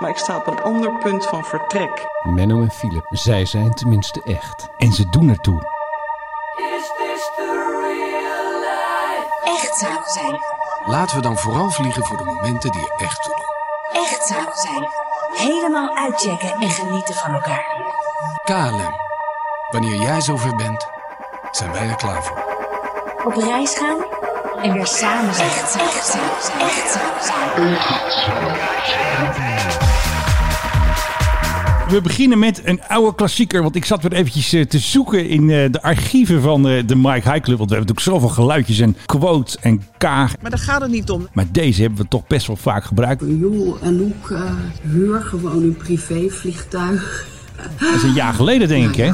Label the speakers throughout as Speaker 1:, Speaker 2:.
Speaker 1: maar ik sta op een ander punt van vertrek.
Speaker 2: Menno en Philip, zij zijn tenminste echt. En ze doen ertoe.
Speaker 3: Echt zaken zijn.
Speaker 4: Laten we dan vooral vliegen voor de momenten die er echt toe doen.
Speaker 3: Echt zaken zijn. Helemaal uitchecken en genieten van elkaar.
Speaker 4: KLM, wanneer jij zover bent, zijn wij er klaar voor.
Speaker 3: Op reis gaan en weer samen zijn. Echt samen zijn. Echt samen zijn.
Speaker 5: We beginnen met een oude klassieker. Want ik zat weer eventjes eh, te zoeken in eh, de archieven van eh, de Mike High Club. Want we hebben natuurlijk zoveel geluidjes en quotes en kaag.
Speaker 1: Maar daar gaat het niet om.
Speaker 5: Maar deze hebben we toch best wel vaak gebruikt.
Speaker 6: Joel en Hoek, eh, huur gewoon een privévliegtuig.
Speaker 5: Dat is een jaar geleden denk ik hè.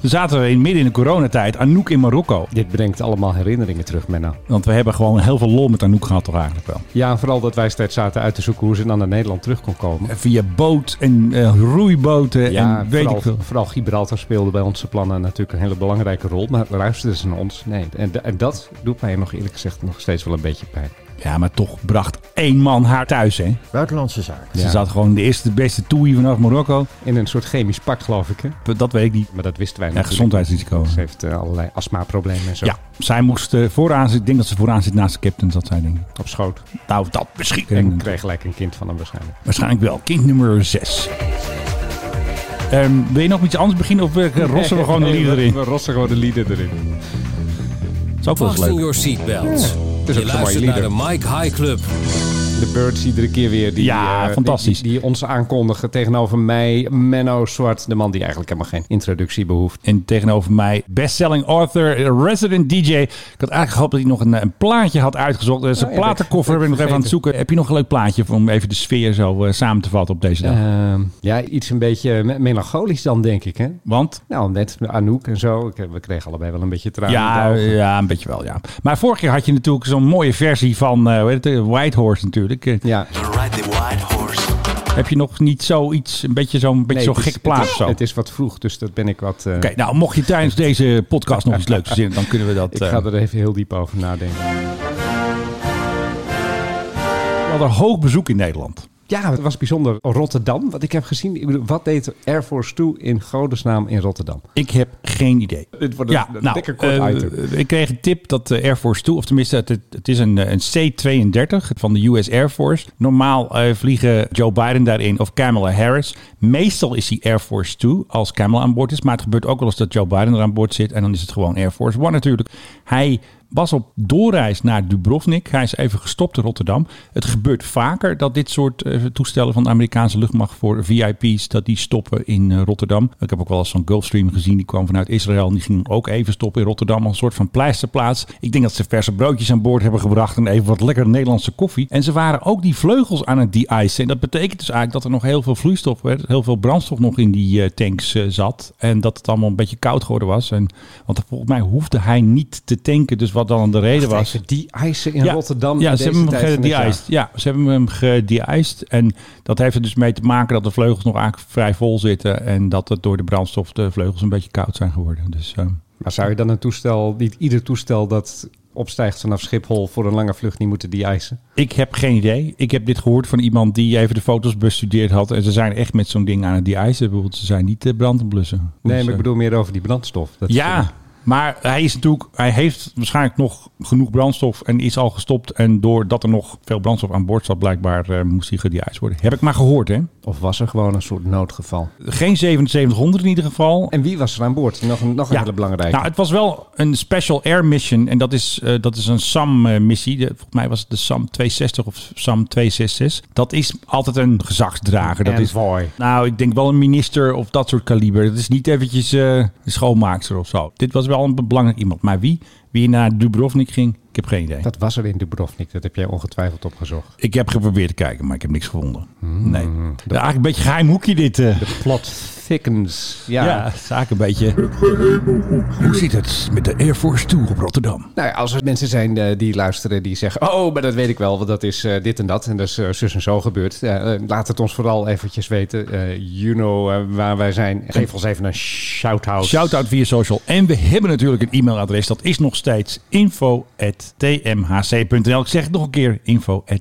Speaker 5: We zaten we in midden in de coronatijd. Anouk in Marokko.
Speaker 7: Dit brengt allemaal herinneringen terug, Menno.
Speaker 5: Want we hebben gewoon heel veel lol met Anouk gehad toch eigenlijk wel.
Speaker 7: Ja, en vooral dat wij steeds zaten uit te zoeken hoe ze dan naar Nederland terug kon komen.
Speaker 5: En Via boot en eh, roeiboten
Speaker 7: Ja,
Speaker 5: en weet ik
Speaker 7: vooral,
Speaker 5: veel.
Speaker 7: vooral Gibraltar speelde bij onze plannen natuurlijk een hele belangrijke rol. Maar luisterden ze naar ons? Nee. En, da- en dat doet mij nog eerlijk gezegd nog steeds wel een beetje pijn.
Speaker 5: Ja, maar toch bracht één man haar thuis hè.
Speaker 8: Buitenlandse zaken.
Speaker 5: Ze
Speaker 7: Ja.
Speaker 5: zat gewoon de eerste de beste toei vanaf Marokko.
Speaker 7: In een soort chemisch pak, geloof ik. Hè?
Speaker 5: Dat weet ik niet.
Speaker 7: Maar dat wisten wij
Speaker 5: Ja,
Speaker 7: natuurlijk.
Speaker 5: gezondheidsrisico.
Speaker 7: Ze heeft eh, allerlei astmaproblemen en zo
Speaker 5: Ja, zij moest eh, vooraan zitten. Ik denk dat ze vooraan zit naast de captain, zat zij denk ik.
Speaker 7: op schoot.
Speaker 5: Nou, dat misschien.
Speaker 7: En kreeg gelijk een kind van hem waarschijnlijk.
Speaker 5: Waarschijnlijk wel. Kind nummer 6. wil je nog met iets anders beginnen of eh, rossen we gewoon de liefde erin?
Speaker 7: We rossen gewoon de lieden erin.
Speaker 5: Dat is ook wel eens
Speaker 9: Fasten
Speaker 5: leuk.
Speaker 9: your seatbelts.
Speaker 7: Het is
Speaker 9: Je
Speaker 7: ook zo'n mooi
Speaker 9: luistert naar
Speaker 7: lieder.
Speaker 9: de Mike High Club.
Speaker 7: De Birds iedere keer weer. Die,
Speaker 5: Ja,
Speaker 7: eh, die-
Speaker 5: fantastisch.
Speaker 7: Die, die ons aankondigen tegenover mij, Menno Zwart. De man die eigenlijk helemaal geen introductie behoeft.
Speaker 5: En tegenover mij bestselling author, eh, resident DJ. Ik had eigenlijk gehoopt dat hij nog een, eh, een plaatje had uitgezocht. Eh, zijn
Speaker 7: Oh ja,
Speaker 5: platenkoffer
Speaker 7: dat-
Speaker 5: ben ik nog
Speaker 7: dat
Speaker 5: even aan het
Speaker 7: vergeten.
Speaker 5: zoeken. Heb je nog een leuk plaatje om even de sfeer zo eh, samen te vatten op deze dag?
Speaker 7: Ehm, ja, iets een beetje me- melancholisch dan, denk ik. Hè?
Speaker 5: Want?
Speaker 7: Nou, net Anouk en zo. Ik- eh, We kregen allebei wel een beetje tranen.
Speaker 5: Ja,
Speaker 7: in de ogen.
Speaker 5: ja, een beetje wel, ja. Maar vorig jaar had je natuurlijk zo'n mooie versie van eh, hoe heet het, eh, White Horse natuurlijk. Eh,
Speaker 7: ja.
Speaker 5: Heb je nog niet zoiets, een beetje zo'n beetje
Speaker 7: Nee,
Speaker 5: zo'n
Speaker 7: het is-
Speaker 5: gek plaat
Speaker 7: het
Speaker 5: of
Speaker 7: is,
Speaker 5: zo?
Speaker 7: Het is wat vroeg, dus dat ben ik wat... eh,
Speaker 5: Oké, nou mocht je tijdens deze podcast nog iets leuks verzinnen, dan kunnen we dat...
Speaker 7: Ik
Speaker 5: eh,
Speaker 7: ga er even heel diep over nadenken.
Speaker 5: we hadden hoog bezoek in Nederland.
Speaker 7: Ja, het was bijzonder. Rotterdam, wat ik heb gezien. Ik bedoel, wat deed Air Force 2 in godesnaam in Rotterdam?
Speaker 5: Ik heb geen idee.
Speaker 7: Dit wordt een- een dikke kort
Speaker 5: eh,
Speaker 7: item.
Speaker 5: Ik kreeg een tip dat de Air Force 2, of tenminste, het, het is een, eh, een C-32 van de US Air Force. Normaal eh, vliegen Joe Biden daarin of Kamala Harris. Meestal is die Air Force 2 als Kamala aan boord is. Maar het gebeurt ook wel eens dat Joe Biden er aan boord zit. En dan is het gewoon Air Force One natuurlijk. Hij was op doorreis naar Dubrovnik. Hij is even gestopt in Rotterdam. Het gebeurt vaker dat dit soort eh, toestellen van de Amerikaanse luchtmacht voor VIP's, dat die stoppen in eh, Rotterdam. Ik heb ook wel eens zo'n Gulfstream gezien. Die kwam vanuit Israël en die ging ook even stoppen in Rotterdam. Als een soort van pleisterplaats. Ik denk dat ze verse broodjes aan boord hebben gebracht en even wat lekkere Nederlandse koffie. En ze waren ook die vleugels aan het de-icen. En dat betekent dus eigenlijk dat er nog heel veel vloeistof, werd, heel veel brandstof nog in die eh, tanks eh, zat. En dat het allemaal een beetje koud geworden was. En, want volgens mij hoefde hij niet te tanken. Dus wat dan de reden was.
Speaker 7: Even die eisen in Rotterdam.
Speaker 5: Ja,
Speaker 7: in
Speaker 5: ze
Speaker 7: deze
Speaker 5: hebben
Speaker 7: tijd
Speaker 5: hem
Speaker 7: van het jaar.
Speaker 5: gedeiced. Ja, ze hebben hem gedeiced. En dat heeft er dus mee te maken dat de vleugels nog eigenlijk vrij vol zitten. En dat het door de brandstof de vleugels een beetje koud zijn geworden. Dus ehm,
Speaker 7: Maar zou je dan een toestel, niet ieder toestel dat opstijgt vanaf Schiphol voor een lange vlucht niet moeten de-icen?
Speaker 5: ik heb geen idee. Ik heb dit gehoord van iemand die even de foto's bestudeerd had. En ze zijn echt met zo'n ding aan het deicen. Bijvoorbeeld, ze zijn niet te brand te blussen.
Speaker 7: Nee,
Speaker 5: Dus,
Speaker 7: maar ik
Speaker 5: eh,
Speaker 7: bedoel meer over die brandstof. Dat
Speaker 5: Ja, maar hij is natuurlijk, hij heeft waarschijnlijk nog genoeg brandstof en is al gestopt. En doordat er nog veel brandstof aan boord zat, blijkbaar eh, moest hij gedeiced worden. Heb ik maar gehoord, hè?
Speaker 7: Of was er gewoon een soort noodgeval?
Speaker 5: Geen 7700 in ieder geval.
Speaker 7: En wie was er aan boord? Nog een, nog een hele belangrijke.
Speaker 5: Nou, het was wel een Special Air Mission. En dat is, eh, dat is een SAM-missie. volgens mij was het de SAM 260 of SAM 266. Dat is altijd een gezagsdrager. Dat is,
Speaker 7: Envoy.
Speaker 5: nou, ik denk wel een minister of dat soort kaliber. Dat is niet eventjes eh, een schoonmaakster of zo. Dit was wel een belangrijk iemand. Maar wie? Wie naar Dubrovnik ging? Ik heb geen idee.
Speaker 7: dat was er in Dubrovnik. Dat heb jij ongetwijfeld opgezocht.
Speaker 5: Ik heb geprobeerd te kijken, maar ik heb niks gevonden. Nee. Eigenlijk een beetje een geheim hoekje dit. eh.
Speaker 7: Plot thickens. Ja.
Speaker 5: Ja, het is eigenlijk een beetje... Hoe zit het met de Air Force 2 op Rotterdam?
Speaker 7: Nou ja, als er mensen zijn eh, die luisteren die zeggen... oh, maar dat weet ik wel, want dat is eh, dit en dat. En dat is eh, zus en zo gebeurd. Ja, eh, laat het ons vooral eventjes weten. Eh you know eh, waar wij zijn. Geef ons even een shout-out.
Speaker 5: Shoutout via social. En we hebben natuurlijk een e-mailadres. Dat is nog steeds info.tmhc.nl. Ik zeg het nog een keer. Info.tmhc.nl.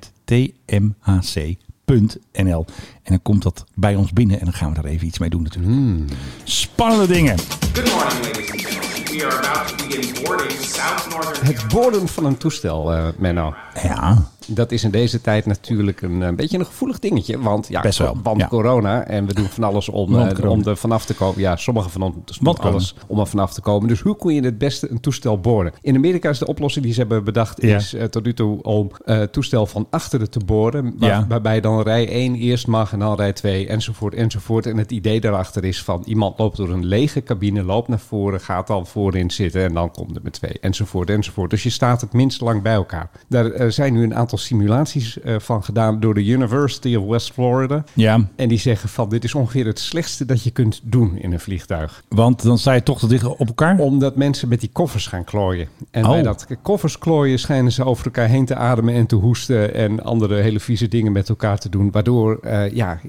Speaker 5: www.ncrv.nl. En dan komt dat bij ons binnen en dan gaan we daar even iets mee doen natuurlijk.
Speaker 7: Hmm.
Speaker 5: Spannende dingen.
Speaker 8: Good morning, ladies and gentlemen. We are about to begin boarding South Northern
Speaker 7: Het boorden van een toestel, eh Menno.
Speaker 5: Ja,
Speaker 7: Dat is in deze tijd natuurlijk een, eh, beetje een gevoelig dingetje. Want, ja,
Speaker 5: Best wel,
Speaker 7: want
Speaker 5: ja.
Speaker 7: corona. En we doen van alles om,
Speaker 5: Want
Speaker 7: eh,
Speaker 5: corona.
Speaker 7: om er vanaf te komen. Ja, sommigen van ons doen
Speaker 5: Want corona.
Speaker 7: alles om er vanaf te komen. Dus hoe kun je het beste een toestel boren? In Amerika is de oplossing die ze hebben bedacht...
Speaker 5: Ja.
Speaker 7: is eh, tot nu toe om eh, het toestel van achteren te boren. waar-
Speaker 5: Ja.
Speaker 7: Waarbij dan rij 1 eerst mag en dan rij 2 enzovoort enzovoort. En het idee daarachter is van iemand loopt door een lege cabine... loopt naar voren, gaat dan voorin zitten en dan komt er met 2 enzovoort enzovoort. Dus je staat het minst lang bij elkaar. Daar eh, zijn nu een aantal simulaties eh, van gedaan door de University of West Florida...
Speaker 5: ja,
Speaker 7: En die zeggen van dit is ongeveer het slechtste dat je kunt doen in een vliegtuig.
Speaker 5: want dan sta je toch te dicht op elkaar.
Speaker 7: Omdat mensen met die koffers gaan klooien. En
Speaker 5: Oh.
Speaker 7: bij dat koffers klooien schijnen ze over elkaar heen te ademen en te hoesten. En andere hele vieze dingen met elkaar te doen. Waardoor, eh, ja,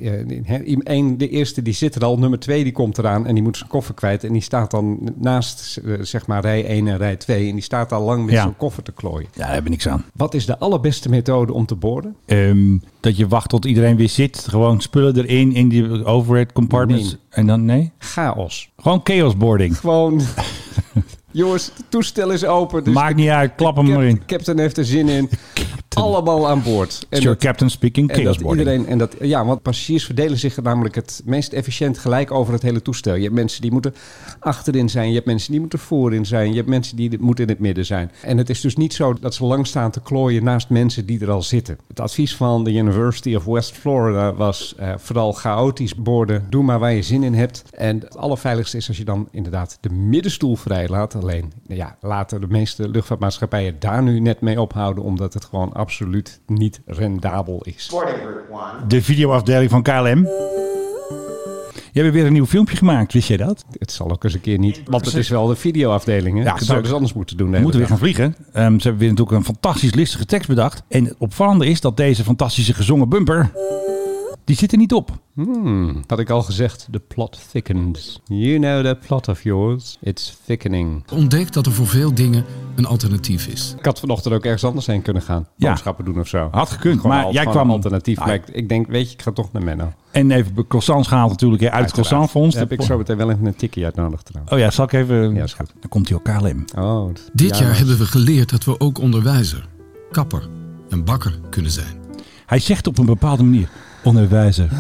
Speaker 7: een, de eerste die zit er al. Nummer twee die komt eraan en die moet zijn koffer kwijt. En die staat dan naast, eh, zeg maar, rij 1 en rij 2. En die staat al lang met
Speaker 5: Ja.
Speaker 7: zijn koffer te klooien.
Speaker 5: Ja, daar heb ik niks aan.
Speaker 7: Wat is de allerbeste methode om te boorden?
Speaker 5: Ehm, dat je wacht tot iedereen weer zit. Gewoon spullen erin in die overhead compartments.
Speaker 7: Nee.
Speaker 5: En dan nee.
Speaker 7: Chaos.
Speaker 5: Gewoon chaosboarding.
Speaker 7: Gewoon... Jongens, het toestel is open. Dus
Speaker 5: Maakt niet uit, klap hem
Speaker 7: Cap-
Speaker 5: maar in.
Speaker 7: Captain heeft er zin in. Allemaal aan boord.
Speaker 5: It's your
Speaker 7: dat-
Speaker 5: captain speaking,
Speaker 7: en dat
Speaker 5: chaosboarding.
Speaker 7: iedereen, en dat, ja, want passagiers verdelen zich namelijk het meest efficiënt gelijk over het hele toestel. Je hebt mensen die moeten achterin zijn, je hebt mensen die moeten voorin zijn, je hebt mensen die dit- moeten in het midden zijn. En het is dus niet zo dat ze lang staan te klooien naast mensen die er al zitten. Het advies van de University of West Florida was eh, vooral chaotisch borden, doe maar waar je zin in hebt. En het allerveiligste is als je dan inderdaad de middenstoel vrij laat. Alleen, nou ja, laten de meeste luchtvaartmaatschappijen daar nu net mee ophouden, omdat het gewoon absoluut niet rendabel is.
Speaker 8: boarding group one.
Speaker 5: De videoafdeling van KLM. Je hebt weer een nieuw filmpje gemaakt, wist jij dat?
Speaker 7: Het zal ook eens een keer niet. Want het is wel de videoafdeling. Hè?
Speaker 5: Ja,
Speaker 7: Ja, zou
Speaker 5: zo-
Speaker 7: dus anders moeten doen. de
Speaker 5: We moeten weer
Speaker 7: hele
Speaker 5: gaan vliegen. Ehm, ze hebben weer natuurlijk een fantastisch listige tekst bedacht. En het opvallende is dat deze fantastische gezongen bumper... Die zit er niet op.
Speaker 7: dag. Hmm, Had ik al gezegd, the plot thickens. You know the plot of yours. It's thickening.
Speaker 4: Ontdek dat er voor veel dingen een alternatief is.
Speaker 7: Ik had vanochtend ook ergens anders heen kunnen gaan.
Speaker 5: Ja.
Speaker 7: Boodschappen doen of zo.
Speaker 5: Had gekund,
Speaker 7: Gewoon
Speaker 5: maar
Speaker 7: al-
Speaker 5: jij
Speaker 7: gewoon
Speaker 5: kwam- Ah.
Speaker 7: een alternatief.
Speaker 5: Ja.
Speaker 7: Maar ik, ik denk, weet je, ik ga toch naar Menno.
Speaker 5: En even croissants gehaald natuurlijk hè, uit het
Speaker 7: Uiteraard.
Speaker 5: croissantfonds.
Speaker 7: Daar heb ik zo meteen wel even een tikkie uit nodig trouwens.
Speaker 5: Oh ja, zal ik even...
Speaker 7: Ja, is goed.
Speaker 5: Dan komt hij ook KLM.
Speaker 7: Oh, dat-
Speaker 9: Dit
Speaker 7: ja,
Speaker 9: jaar hebben we geleerd dat we ook onderwijzer, kapper en bakker kunnen zijn.
Speaker 5: Hij zegt op een bepaalde manier... Onderwijzer.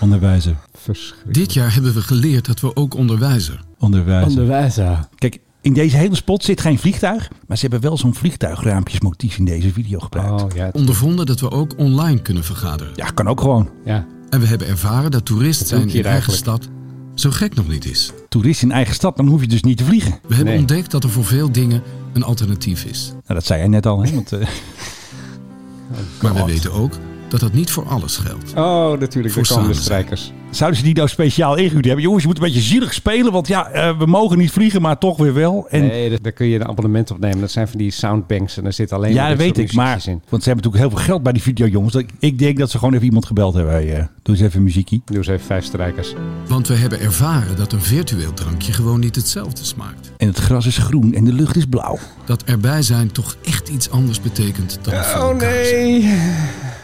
Speaker 5: Onderwijzer.
Speaker 7: verschrikkelijk.
Speaker 9: Dit jaar hebben we geleerd dat we ook onderwijzer.
Speaker 5: Onderwijzer.
Speaker 7: Onderwijzer.
Speaker 5: Kijk, in deze hele spot zit geen vliegtuig. Maar ze hebben wel zo'n vliegtuigraampjesmotief in deze video gebruikt.
Speaker 7: Oh ja.
Speaker 9: Ondervonden dat we ook online kunnen vergaderen.
Speaker 5: Ja, kan ook gewoon.
Speaker 7: ja.
Speaker 9: En we hebben ervaren dat toerist
Speaker 7: doe ik
Speaker 9: zijn in
Speaker 7: hier
Speaker 9: eigen
Speaker 7: eigenlijk?
Speaker 9: stad zo gek nog niet is.
Speaker 5: Toerist in eigen stad, dan hoef je dus niet te vliegen.
Speaker 9: We hebben
Speaker 7: Nee.
Speaker 9: ontdekt dat er voor veel dingen een alternatief is.
Speaker 5: Nou, dat zei hij net al. Hè? Want, eh,
Speaker 9: Maar we weten ook dat dat niet voor alles geldt.
Speaker 7: Oh, natuurlijk.
Speaker 9: Voor
Speaker 7: Daar komen de
Speaker 9: samen zijn.
Speaker 7: strijkers.
Speaker 5: zouden ze die nou speciaal ingehuurd hebben? Jongens, je moet een beetje zielig spelen. Want ja, eh, we mogen niet vliegen, maar toch weer wel. En,
Speaker 7: Nee, daar- daar kun je een abonnement op nemen. Dat zijn van die soundbanks en daar zit alleen
Speaker 5: ja,
Speaker 7: maar
Speaker 5: dat
Speaker 7: dit
Speaker 5: weet
Speaker 7: soort
Speaker 5: ik. Maar, want
Speaker 7: muziekjes
Speaker 5: ze
Speaker 7: in.
Speaker 5: hebben natuurlijk heel veel geld bij die videojongens. Dat, ik- ik denk dat ze gewoon even iemand gebeld hebben. Hey, eh, doe eens even muziekie.
Speaker 7: Doe eens even vijf strijkers.
Speaker 9: Want we hebben ervaren dat een virtueel drankje gewoon niet hetzelfde smaakt.
Speaker 5: En het gras is groen en de lucht is blauw.
Speaker 9: Dat erbij zijn toch echt iets anders betekent dan
Speaker 7: Oh,
Speaker 9: voor elkaar zijn.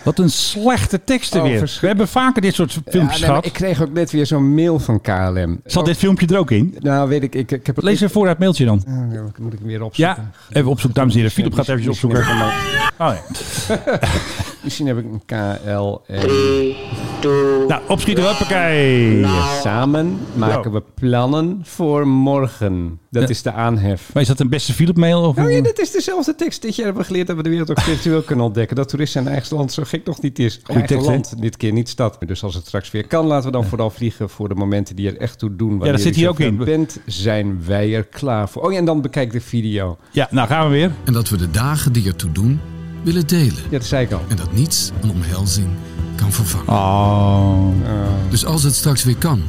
Speaker 5: Wat een slechte teksten
Speaker 7: Oh,
Speaker 5: weer.
Speaker 7: verschrik-
Speaker 5: We hebben vaker dit soort
Speaker 7: Ja,
Speaker 5: filmpjes
Speaker 7: nee, maar
Speaker 5: gehad.
Speaker 7: ik kreeg ook net weer zo'n mail van KLM.
Speaker 5: Zat dit filmpje er ook in?
Speaker 7: Nou, weet ik, ik, ik heb het...
Speaker 5: Lees
Speaker 7: ik-
Speaker 5: even vooruit het mailtje dan.
Speaker 7: Ah, ja, moet ik hem weer opzoeken?
Speaker 5: Ja, even opzoeken, dames en heren. Philip gaat even
Speaker 7: Misschien-
Speaker 5: opzoeken. Oh,
Speaker 7: misschien-
Speaker 5: ja.
Speaker 7: Misschien heb ik een KLM.
Speaker 5: Nou, opschieten, hoppakee.
Speaker 7: Samen maken we plannen voor morgen. Dat
Speaker 5: Nou. Ja.
Speaker 7: is de aanhef.
Speaker 5: Maar is dat een beste Philip-mail? Of...
Speaker 7: Nou ja, dat is dezelfde tekst. Dit jaar hebben we geleerd dat we de wereld ook virtueel kunnen ontdekken. Dat toeristen in eigen land zo gek nog niet is. Eigen
Speaker 5: tekst, hè?
Speaker 7: land, dit keer niet stad. Dus als het straks weer kan, laten we dan vooral vliegen voor de momenten die er echt toe doen. Wanneer
Speaker 5: zit
Speaker 7: je
Speaker 5: hier ook in.
Speaker 7: zover Bent, zijn wij er klaar voor. Oh ja, en dan bekijk de video.
Speaker 5: Ja, nou gaan we weer.
Speaker 9: En dat we de dagen die ertoe doen willen delen.
Speaker 7: Ja, dat zei ik al.
Speaker 9: En dat niets een omhelzing kan vervangen.
Speaker 5: Oh.
Speaker 9: Dus als het straks weer kan,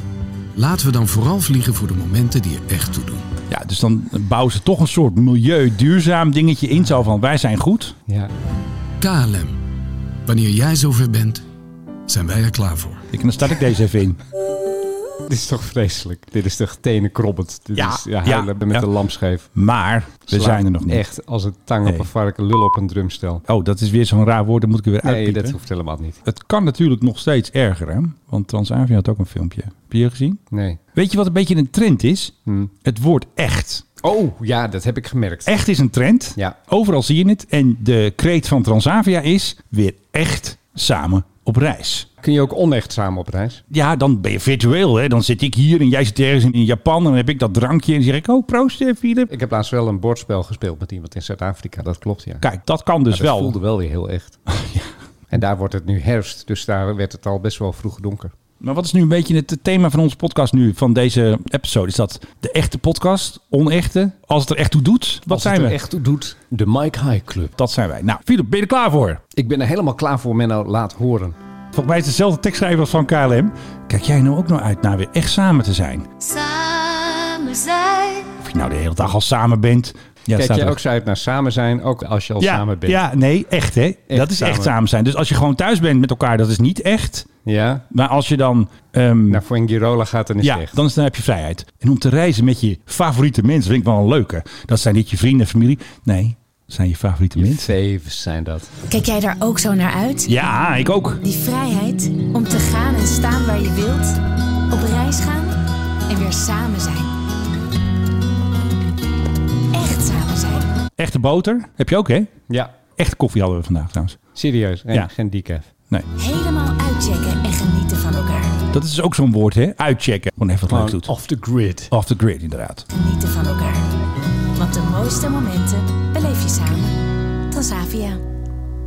Speaker 9: laten we dan vooral vliegen voor de momenten die er echt toe doen.
Speaker 5: Ja, dus dan bouwen ze toch een soort milieu-duurzaam dingetje in. Zo van, wij zijn goed.
Speaker 7: Ja.
Speaker 9: KLM, wanneer jij zover bent, zijn wij er klaar voor.
Speaker 5: Ik, en dan start ik deze even in.
Speaker 7: Dit is toch vreselijk. Dit is toch tenenkrobbend. Dit
Speaker 5: Ja,
Speaker 7: is ja, huilen
Speaker 5: ja,
Speaker 7: met
Speaker 5: ja.
Speaker 7: de lampscheef.
Speaker 5: Maar we
Speaker 7: Slaat
Speaker 5: zijn er nog niet.
Speaker 7: Echt als een tang op
Speaker 5: Nee.
Speaker 7: een varken, lul op een drumstel.
Speaker 5: Oh, dat is weer zo'n raar woord. Dat moet ik er weer
Speaker 7: Nee,
Speaker 5: uitpiepen.
Speaker 7: dat hoeft helemaal niet.
Speaker 5: Het kan natuurlijk nog steeds erger, hè? Want Transavia had ook een filmpje. Heb je die gezien?
Speaker 7: Nee.
Speaker 5: Weet je wat een beetje een trend is?
Speaker 7: Hm.
Speaker 5: Het woord echt.
Speaker 7: Oh, ja, dat heb ik gemerkt.
Speaker 5: Echt is een trend.
Speaker 7: Ja.
Speaker 5: Overal zie je het. En de kreet van Transavia is weer echt samen op reis.
Speaker 7: Kun je ook onecht samen op reis?
Speaker 5: Ja, dan ben je virtueel. Hè? Dan zit ik hier en jij zit ergens in in Japan. En dan heb ik dat drankje. En dan zeg ik, oh, proost eh, Philip.
Speaker 7: Ik heb laatst wel een bordspel gespeeld met iemand in Zuid-Afrika. Dat klopt, ja.
Speaker 5: Kijk, dat kan dus
Speaker 7: Maar dat
Speaker 5: wel.
Speaker 7: voelde wel weer heel echt. En daar wordt het nu herfst, dus daar werd het al best wel vroeg donker.
Speaker 5: Maar wat is nu een beetje het thema van onze podcast nu, van deze episode? Is dat de echte podcast, onechte? Als het er echt toe doet, wat
Speaker 7: Als
Speaker 5: zijn
Speaker 7: het
Speaker 5: we?
Speaker 7: er echt toe doet, de Mike High Club.
Speaker 5: Dat zijn wij. Nou, Philip, ben je er klaar voor?
Speaker 7: Ik ben er helemaal klaar voor, Menno. Laat horen.
Speaker 5: Volgens mij is het dezelfde tekstschrijver als van KLM. Kijk jij nou ook nou uit naar weer echt samen te zijn?
Speaker 3: Samen zijn.
Speaker 5: Of je nou de hele dag al samen bent. Ja,
Speaker 7: Kijk
Speaker 5: staat
Speaker 7: jij
Speaker 5: er-
Speaker 7: ook zo uit naar samen zijn, ook als je al
Speaker 5: ja,
Speaker 7: samen bent.
Speaker 5: Ja, nee, echt hè. dat is echt
Speaker 7: samen.
Speaker 5: samen zijn. Dus als je gewoon thuis bent met elkaar, dat is niet echt.
Speaker 7: ja?
Speaker 5: Maar als je dan... ehm,
Speaker 7: Naar Fuengirola gaat, dan is
Speaker 5: ja,
Speaker 7: het echt.
Speaker 5: dan, is, dan heb je vrijheid. En om te reizen met je favoriete mensen vind ik wel een leuke. Dat zijn niet je vrienden, familie. Nee, dat zijn je favoriete mensen.
Speaker 7: Faves zijn dat.
Speaker 3: Kijk jij daar ook zo naar uit?
Speaker 5: Ja, ik ook.
Speaker 3: Die vrijheid om te gaan en staan waar je wilt. Op reis gaan en weer samen zijn. Echt samen zijn.
Speaker 5: Echte boter heb je ook, hè?
Speaker 7: Ja,
Speaker 5: Echte koffie hadden we vandaag trouwens.
Speaker 7: serieus. En
Speaker 5: Ja.
Speaker 7: Geen decaf.
Speaker 5: Nee,
Speaker 3: Helemaal uitchecken en genieten van elkaar.
Speaker 5: dat is dus ook zo'n woord, hè? Uitchecken. Gewoon even wat leuk doet.
Speaker 7: off the grid.
Speaker 5: Off the grid, inderdaad.
Speaker 3: Genieten van elkaar. Want de mooiste momenten beleef je samen. Transavia.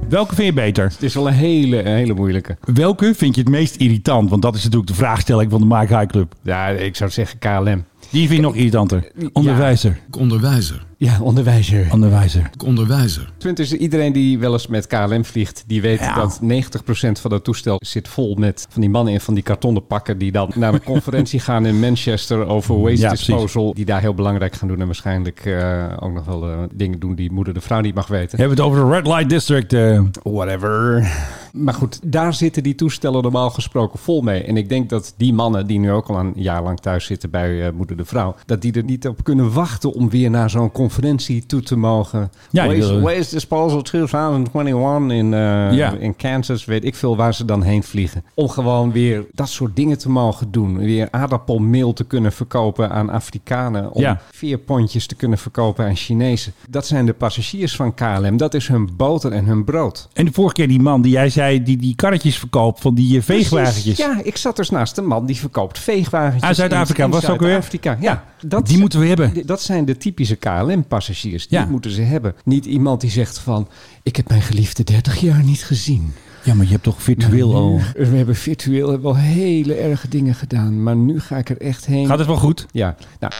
Speaker 5: Welke vind je beter?
Speaker 7: Het is wel een hele, een hele moeilijke.
Speaker 5: Welke vind je het meest irritant? Want dat is natuurlijk de vraagstelling van de Mike High Club.
Speaker 7: Ja, ik zou zeggen KLM.
Speaker 5: Die vind ik nog irritanter. Onderwijzer.
Speaker 9: Ik onderwijzer.
Speaker 7: Ja, onderwijzer.
Speaker 5: Onderwijzer.
Speaker 9: Ik onderwijzer.
Speaker 7: Het punt is, iedereen die wel eens met KLM vliegt, die weet
Speaker 5: Ja.
Speaker 7: dat 90% van dat toestel zit vol met van die mannen in van die kartonnen pakken die dan naar een conferentie gaan in Manchester over waste
Speaker 5: Ja, precies.
Speaker 7: disposal. Die daar heel belangrijk gaan doen en waarschijnlijk eh, ook nog wel eh, dingen doen die moeder de vrouw niet mag weten.
Speaker 5: Hebben we het over de Red Light District? eh,
Speaker 7: Whatever. Maar goed, daar zitten die toestellen normaal gesproken vol mee. En ik denk dat die mannen die nu ook al een jaar lang thuis zitten bij eh, moeder de vrouw, dat die er niet op kunnen wachten om weer naar zo'n conferentie toe te mogen.
Speaker 5: Ja, die
Speaker 7: waste,
Speaker 5: willen-
Speaker 7: waste Disposal 2021 in, eh,
Speaker 5: Ja.
Speaker 7: in Kansas, weet ik veel waar ze dan heen vliegen. Om gewoon weer dat soort dingen te mogen doen. Weer aardappelmeel te kunnen verkopen aan Afrikanen. Om
Speaker 5: Ja.
Speaker 7: veerpondjes te kunnen verkopen aan Chinezen. Dat zijn de passagiers van KLM. Dat is hun boter en hun brood.
Speaker 5: En de vorige keer die man die jij zei, die die karretjes verkoopt van die eh, veegwagentjes.
Speaker 7: Precies, Ja, ik zat dus naast een man die verkoopt veegwagentjes.
Speaker 5: Uit Zuid-Afrika,
Speaker 7: in- in
Speaker 5: was het ook weer?
Speaker 7: Zuid-Afrika, ja. Dat,
Speaker 5: Die moeten we hebben.
Speaker 7: D- Dat zijn de typische KLM-passagiers. Die
Speaker 5: Ja.
Speaker 7: moeten ze hebben. Niet iemand die zegt van... Ik heb mijn geliefde 30 jaar niet gezien.
Speaker 5: Ja, maar je hebt toch virtueel al...
Speaker 7: We hebben virtueel hebben wel hele erge dingen gedaan. Maar nu ga ik er echt heen.
Speaker 5: Gaat het wel goed?
Speaker 7: Ja, nou,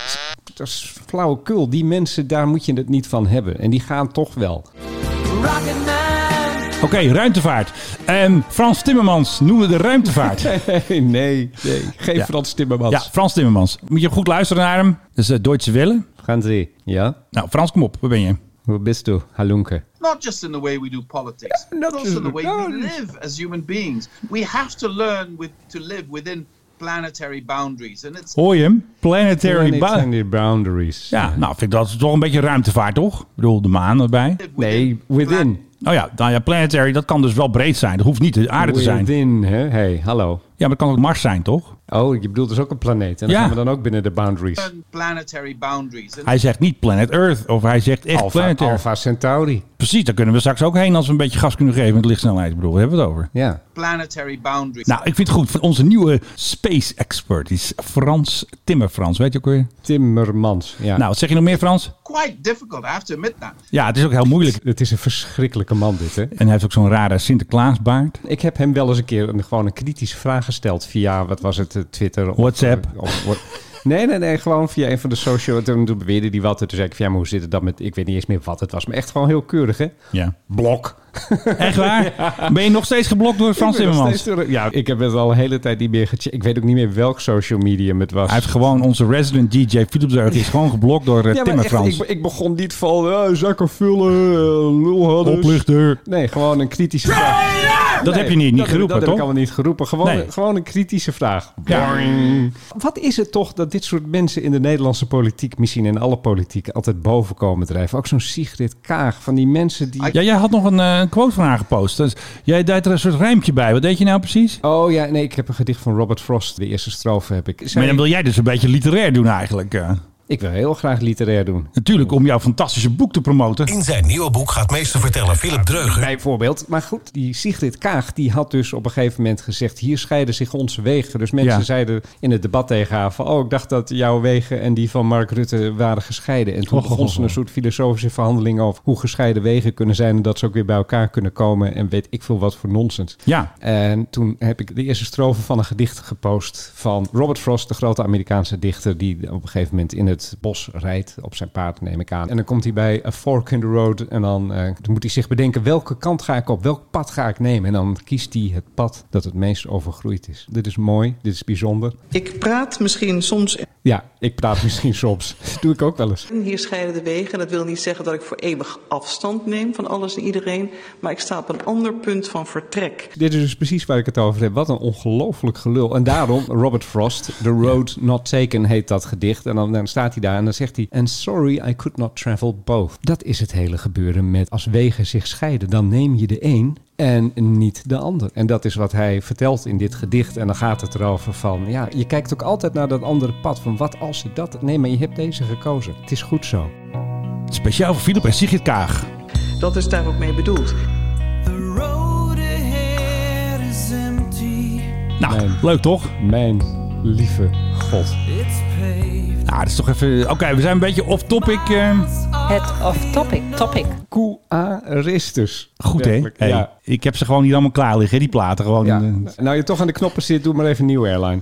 Speaker 7: dat is flauwekul. Die mensen, daar moet je het niet van hebben. En die gaan toch wel.
Speaker 5: Oké, ruimtevaart. Ehm, Frans Timmermans noemen de ruimtevaart.
Speaker 7: nee, nee. Geen
Speaker 5: Ja.
Speaker 7: Frans Timmermans.
Speaker 5: Ja, Frans Timmermans. Moet je goed luisteren naar hem. Dat is eh, Deutsche Welle.
Speaker 7: Gaan ze. Ja?
Speaker 5: Nou, Frans, kom op. Waar ben je?
Speaker 7: Hoe bist u? Halunke. Nou,
Speaker 10: not just in the way we do politics,
Speaker 7: Yeah, not
Speaker 10: but
Speaker 7: just-
Speaker 10: also the way
Speaker 7: no,
Speaker 10: we
Speaker 7: it's-
Speaker 10: live as human beings. We have to learn with, to live within planetary boundaries, and it's
Speaker 5: Hoor je hem? Planetary
Speaker 7: Planetary
Speaker 5: Bound.
Speaker 7: boundaries.
Speaker 5: Ja, nou, vind ik dat toch een beetje ruimtevaart, toch? Ik bedoel, de maan erbij.
Speaker 7: Nee, within.
Speaker 5: Nou ja, nou ja, planetary, dat kan dus wel breed zijn. Dat hoeft niet de aarde te zijn. Ja,
Speaker 7: Within, hè? Hey, hallo.
Speaker 5: maar het kan ook Mars zijn, toch?
Speaker 7: Oh, je bedoelt dus ook een planeet. En dan
Speaker 5: Ja.
Speaker 7: gaan we dan ook binnen de boundaries.
Speaker 10: learn planetary boundaries. And
Speaker 5: Hij zegt niet planet Earth, of hij zegt echt
Speaker 7: Alpha,
Speaker 5: planetary.
Speaker 7: Alpha Centauri.
Speaker 5: Precies, daar kunnen we straks ook heen als we een beetje gas kunnen geven met lichtsnelheid. Ik bedoel, daar hebben we het over.
Speaker 7: Ja.
Speaker 10: planetary boundaries.
Speaker 5: Nou, ik vind het goed. Van onze nieuwe space expert is Frans Timmerfrans. Weet je ook weer?
Speaker 7: Timmermans. Ja.
Speaker 5: Nou, wat zeg je nog meer, Frans?
Speaker 10: Quite difficult, I have to admit that.
Speaker 5: Ja, het is ook heel moeilijk.
Speaker 7: het is een verschrikkelijke man dit, hè?
Speaker 5: En hij heeft ook zo'n rare Sinterklaasbaard.
Speaker 7: Ik heb hem wel eens een keer een, gewoon een kritische vraag gesteld via, wat was het, eh, Twitter? of- eh,
Speaker 5: WhatsApp.
Speaker 7: of- wa- nee, nee, nee, gewoon via een van de social. Toen, toen beweerde die wat. En toen zei ik van, ja, maar hoe zit het dan met, ik weet niet eens meer wat het was. Maar echt gewoon heel keurig, hè?
Speaker 5: Ja.
Speaker 7: Blok.
Speaker 5: Echt waar? Ben je nog steeds geblokt door Frans
Speaker 7: Ik ben nog
Speaker 5: Timmermans?
Speaker 7: steeds door- Ja, ik heb het al de hele tijd niet meer gecheckt. Ik weet ook niet meer welk social medium het was.
Speaker 5: Hij heeft gewoon onze resident DJ Philip Zeug is gewoon geblokt door eh,
Speaker 7: Ja, maar echt,
Speaker 5: Timmerfrans.
Speaker 7: ik, ik begon niet van eh, zakken vullen, eh, lul hadden.
Speaker 5: Oplichter.
Speaker 7: Ah, Nee, gewoon een kritische vraag.
Speaker 5: Dat heb je niet, niet
Speaker 4: dat heb-
Speaker 5: geroepen,
Speaker 4: dat heb
Speaker 5: toch?
Speaker 4: ik allemaal niet geroepen. Gewoon,
Speaker 5: Nee.
Speaker 4: gewoon een kritische vraag.
Speaker 5: Ja.
Speaker 4: Boing. Wat is het toch dat dit soort mensen in de Nederlandse politiek, misschien in alle politiek, altijd boven komen drijven? Ook zo'n Sigrid Kaag, van die mensen die...
Speaker 5: Ja, jij had nog een, eh, een quote van haar gepost. Dus jij deed er een soort rijmpje bij. Wat deed je nou precies?
Speaker 4: Oh ja, nee, ik heb een gedicht van Robert Frost. De eerste strofe heb ik. Zij-
Speaker 5: Maar dan wil jij dus een beetje literair doen eigenlijk. eh.
Speaker 4: Ik wil heel graag literair doen.
Speaker 5: Natuurlijk om jouw fantastische boek te promoten.
Speaker 7: In zijn nieuwe boek gaat meesterverteller Philip Dreuger
Speaker 4: Bijvoorbeeld. Maar goed, die Sigrid Kaag die had dus op een gegeven moment gezegd... hier scheiden zich onze wegen. Dus mensen
Speaker 5: Ja.
Speaker 4: zeiden in het debat tegen haar van... oh, ik dacht dat jouw wegen en die van Mark Rutte waren gescheiden. En toen
Speaker 5: Och, och,
Speaker 4: begon ze
Speaker 5: och.
Speaker 4: een soort filosofische verhandeling... over hoe gescheiden wegen kunnen zijn... en dat ze ook weer bij elkaar kunnen komen... en weet ik veel wat voor nonsens.
Speaker 5: Ja.
Speaker 4: En toen heb ik de eerste strofe van een gedicht gepost van Robert Frost, de grote Amerikaanse dichter die op een gegeven moment in het bos rijdt op zijn paard, neem ik aan. En dan komt hij bij A Fork in the Road en dan, eh, dan moet hij zich bedenken welke kant ga ik op, welk pad ga ik nemen. En dan kiest hij het pad dat het meest overgroeid is. Dit is mooi, dit is bijzonder.
Speaker 1: Ik praat misschien soms
Speaker 4: Ja, ik praat misschien soms. Doe ik ook wel eens.
Speaker 1: en hier scheiden de wegen. Dat wil niet zeggen dat ik voor eeuwig afstand neem van alles en iedereen. Maar ik sta op een ander punt van vertrek.
Speaker 4: Dit is dus precies waar ik het over heb. Wat een ongelooflijk gelul. En daarom, Robert Frost, The Road Not Taken heet dat gedicht. En dan, dan staat hij daar en dan zegt hij... And sorry, I could not travel both. Dat is het hele gebeuren met als wegen zich scheiden. Dan neem je de een en niet de ander. En dat is wat hij vertelt in dit gedicht. En dan gaat het erover van... Ja, je kijkt ook altijd naar dat andere pad. Van wat als ik dat... Nee, maar je hebt deze gekozen. Het is goed zo.
Speaker 5: Speciaal voor Philip en Sigrid Kaag.
Speaker 1: Dat is daar ook mee bedoeld.
Speaker 5: Nou,
Speaker 4: Mijn,
Speaker 5: leuk toch?
Speaker 4: mijn lieve God.
Speaker 5: Nou, dat is toch even... Oké, we zijn een beetje off-topic. eh.
Speaker 11: Het off-topic. Topic.
Speaker 4: Q-aristus.
Speaker 5: Goed, hè?
Speaker 4: Werkelijk,
Speaker 5: Hey,
Speaker 4: Ja.
Speaker 5: Ik heb ze gewoon niet allemaal klaar liggen, hè, die platen. Gewoon,
Speaker 4: Ja.
Speaker 5: eh,
Speaker 4: Nou, je toch aan de knoppen zit, doe maar even New Airline.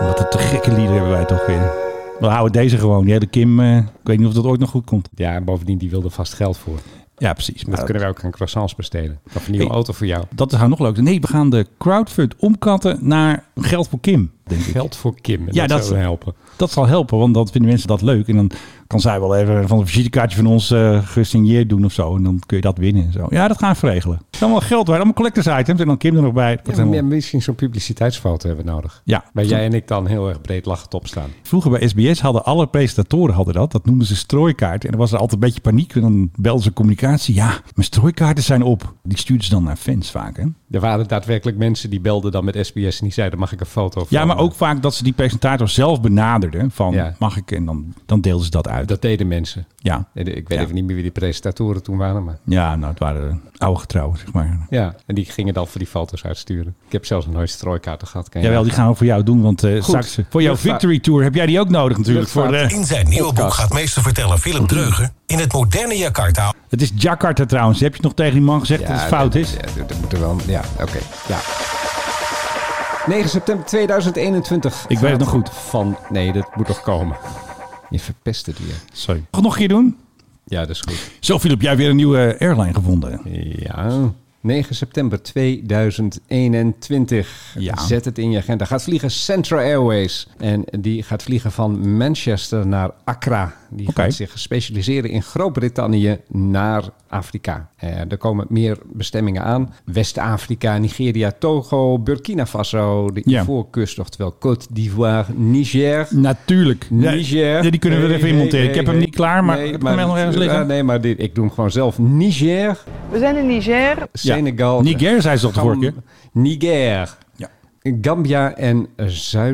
Speaker 5: Wat een te gekke lieder hebben wij toch weer. We houden deze gewoon. Die hele Kim, eh, ik weet niet of dat ooit nog goed komt.
Speaker 4: Ja, en bovendien, die wilde vast geld voor.
Speaker 5: Ja, precies.
Speaker 4: Dat
Speaker 5: Maar dat,
Speaker 4: kunnen wij ook aan croissants besteden. Of een nieuwe
Speaker 5: Nou, Hey.
Speaker 4: auto voor jou.
Speaker 5: dat is haar nog leuk. Nee, we gaan de crowdfund omkatten naar geld voor Kim, denk ik.
Speaker 4: Geld voor Kim. En
Speaker 5: Ja,
Speaker 4: dat,
Speaker 5: dat-
Speaker 4: zou helpen.
Speaker 5: Dat zal helpen, want dan vinden mensen dat leuk. En dan kan zij wel even van een visitekaartje van ons eh gesigneerd doen of zo. En dan kun je dat winnen en zo. Ja, dat gaan we regelen. Het is allemaal geld waard. Allemaal collectors items. En dan Kim er nog bij. Dat
Speaker 4: Ja,
Speaker 5: helemaal-
Speaker 4: maar misschien zo'n publiciteitsfoto hebben we nodig.
Speaker 5: Ja.
Speaker 4: Waar jij en ik dan heel erg breed lachend op staan.
Speaker 5: Vroeger bij SBS hadden alle presentatoren hadden dat. Dat noemden ze strooikaart. En dan was er altijd een beetje paniek. En dan belden ze communicatie. Ja, mijn strooikaarten zijn op. Die stuurden ze dan naar fans vaak. Hè?
Speaker 4: Er waren daadwerkelijk mensen die belden dan met SBS en die zeiden, mag ik een foto van? eh,
Speaker 5: Ja, maar ook vaak dat ze die presentator zelf benaderden. Van
Speaker 4: Ja.
Speaker 5: mag ik? En dan, dan deelden ze dat uit.
Speaker 4: Dat deden mensen.
Speaker 5: ja.
Speaker 4: En Ik weet
Speaker 5: Ja.
Speaker 4: even niet meer wie die presentatoren toen waren, maar...
Speaker 5: ja, nou het waren oude getrouwen zeg maar.
Speaker 4: Ja, en die gingen dan voor die foto's uitsturen. Ik heb zelfs nog nooit strooikaarten gehad. ken je
Speaker 5: Jawel,
Speaker 4: dat?
Speaker 5: die gaan we voor jou doen. Want eh, straks voor jouw
Speaker 4: Luchtvaart.
Speaker 5: victory tour heb jij die ook nodig natuurlijk. Voor, eh,
Speaker 4: Luchtvaart.
Speaker 5: de-
Speaker 7: In zijn nieuwe boek gaat meesterverteller Philip Dreuger in het moderne Jakarta
Speaker 5: het is Jakarta trouwens. Heb je nog tegen die man gezegd dat het fout
Speaker 4: dat-
Speaker 5: is?
Speaker 4: ja, dat moet er wel. Ja, oké. ja. 9 september 2021.
Speaker 5: Ik weet het nog goed.
Speaker 4: Van, nee, dat moet nog komen. Je verpest het weer.
Speaker 5: Sorry. Nog een keer doen?
Speaker 4: Ja, dat is goed.
Speaker 5: Zo Philip, jij hebt weer een nieuwe eh, airline gevonden.
Speaker 4: Ja. 9 september 2021.
Speaker 5: Ja.
Speaker 4: Zet het in je agenda. Gaat vliegen Central Airways. En die gaat vliegen van Manchester naar Accra. Die
Speaker 5: Oké.
Speaker 4: gaat zich specialiseren in Groot-Brittannië naar Afrika. Eh, er komen meer bestemmingen aan. West-Afrika, Nigeria, Togo, Burkina Faso, de
Speaker 5: Ja.
Speaker 4: Ivoorkust, oftewel Côte d'Ivoire, Niger.
Speaker 5: Natuurlijk.
Speaker 4: Niger.
Speaker 5: Ja, die kunnen we er
Speaker 4: Nee,
Speaker 5: even in
Speaker 4: nee,
Speaker 5: monteren. ik
Speaker 4: nee,
Speaker 5: heb hem
Speaker 4: nee.
Speaker 5: niet klaar, maar
Speaker 4: Nee,
Speaker 5: ik heb hem nog ergens liggen.
Speaker 4: Ah, nee, maar dit, ik doe hem gewoon zelf. Niger,
Speaker 12: We zijn in Niger.
Speaker 4: Senegal.
Speaker 5: Niger zei ze toch de vorige keer?
Speaker 4: Niger.
Speaker 5: Ja.
Speaker 4: Gambia en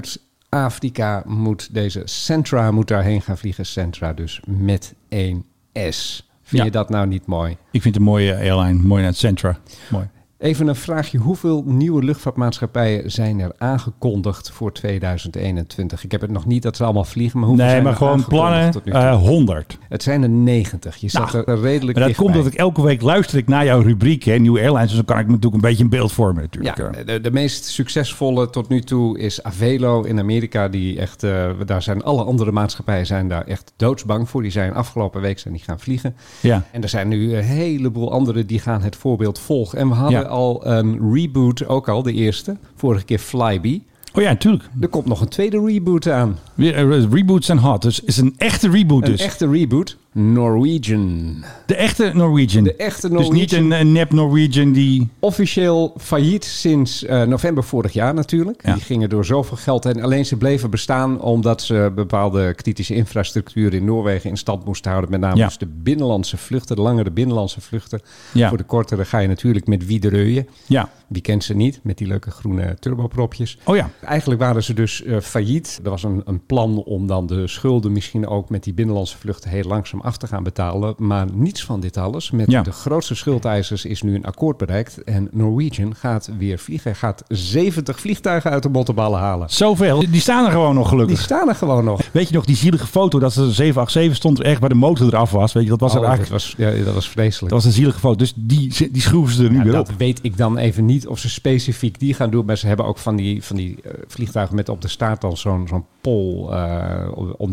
Speaker 4: Zuid-Afrika moet deze Centra moet daarheen gaan vliegen. Centra dus met één S. Vind
Speaker 5: Ja.
Speaker 4: je dat nou niet mooi?
Speaker 5: Ik vind het een mooie eh, airline. Mooi naar het Centra. Mooi.
Speaker 4: Even een vraagje. Hoeveel nieuwe luchtvaartmaatschappijen zijn er aangekondigd voor 2021? Ik heb het nog niet dat ze allemaal vliegen, maar hoeveel
Speaker 5: Nee,
Speaker 4: zijn
Speaker 5: maar
Speaker 4: er
Speaker 5: gewoon
Speaker 4: aangekondigd
Speaker 5: plannen.
Speaker 4: tot nu toe?
Speaker 5: eh 100.
Speaker 4: het zijn er 90. Je zat
Speaker 5: Nou,
Speaker 4: er redelijk
Speaker 5: Maar dat
Speaker 4: dicht
Speaker 5: komt
Speaker 4: bij.
Speaker 5: dat ik elke week luister ik naar jouw rubriek, hè, Nieuwe Airlines. Dus dan kan ik me natuurlijk een beetje een beeld vormen natuurlijk.
Speaker 4: Ja, de, de meest succesvolle tot nu toe is Avelo in Amerika. Die echt, eh, daar zijn alle andere maatschappijen zijn daar echt doodsbang voor. Die zijn afgelopen week zijn die gaan vliegen.
Speaker 5: Ja.
Speaker 4: En er zijn nu een heleboel anderen die gaan het voorbeeld volgen. En we hadden
Speaker 5: Ja.
Speaker 4: al een reboot, ook al de eerste. Vorige keer Flybe.
Speaker 5: Oh ja, natuurlijk.
Speaker 4: Er komt nog een tweede reboot aan.
Speaker 5: Weer, eh, Reboots zijn hot. Dus is een echte reboot
Speaker 4: Een
Speaker 5: dus.
Speaker 4: echte reboot. Norwegian.
Speaker 5: De echte Norwegian.
Speaker 4: De echte Norwegian.
Speaker 5: Dus niet een, een nep Norwegian die...
Speaker 4: Officieel failliet sinds eh, november vorig jaar natuurlijk. Die gingen door zoveel geld en alleen ze bleven bestaan omdat ze bepaalde kritische infrastructuur in Noorwegen in stand moesten houden. Met name
Speaker 5: Ja.
Speaker 4: dus de binnenlandse vluchten, de langere binnenlandse vluchten.
Speaker 5: Ja.
Speaker 4: Voor de kortere ga je natuurlijk met Wiederøje.
Speaker 5: Ja.
Speaker 4: Wie kent ze niet? Met die leuke groene turbopropjes.
Speaker 5: Oh ja.
Speaker 4: Eigenlijk waren ze dus eh, failliet. Er was een, een plan om dan de schulden misschien ook met die binnenlandse vluchten heel langzaam af te gaan betalen. Maar niets van dit alles. Met
Speaker 5: Ja.
Speaker 4: de grootste schuldeisers is nu een akkoord bereikt. En Norwegian gaat weer vliegen. Hij gaat 70 vliegtuigen uit de bottenballen halen.
Speaker 5: Zoveel. Die staan er gewoon nog gelukkig.
Speaker 4: Die staan er gewoon nog.
Speaker 5: Weet je nog die zielige foto dat ze een 787 stond er echt waar de motor eraf was? Weet je, dat was
Speaker 4: Oh,
Speaker 5: er
Speaker 4: dat,
Speaker 5: eigenlijk.
Speaker 4: was, ja, dat was vreselijk.
Speaker 5: Dat was een zielige foto. Dus die, die schroeven ze er nu
Speaker 4: Ja,
Speaker 5: weer
Speaker 4: dat
Speaker 5: op.
Speaker 4: weet ik dan even niet of ze specifiek die gaan doen. Maar ze hebben ook van die, van die eh, vliegtuigen met op de staart dan zo'n zo'n pol eh,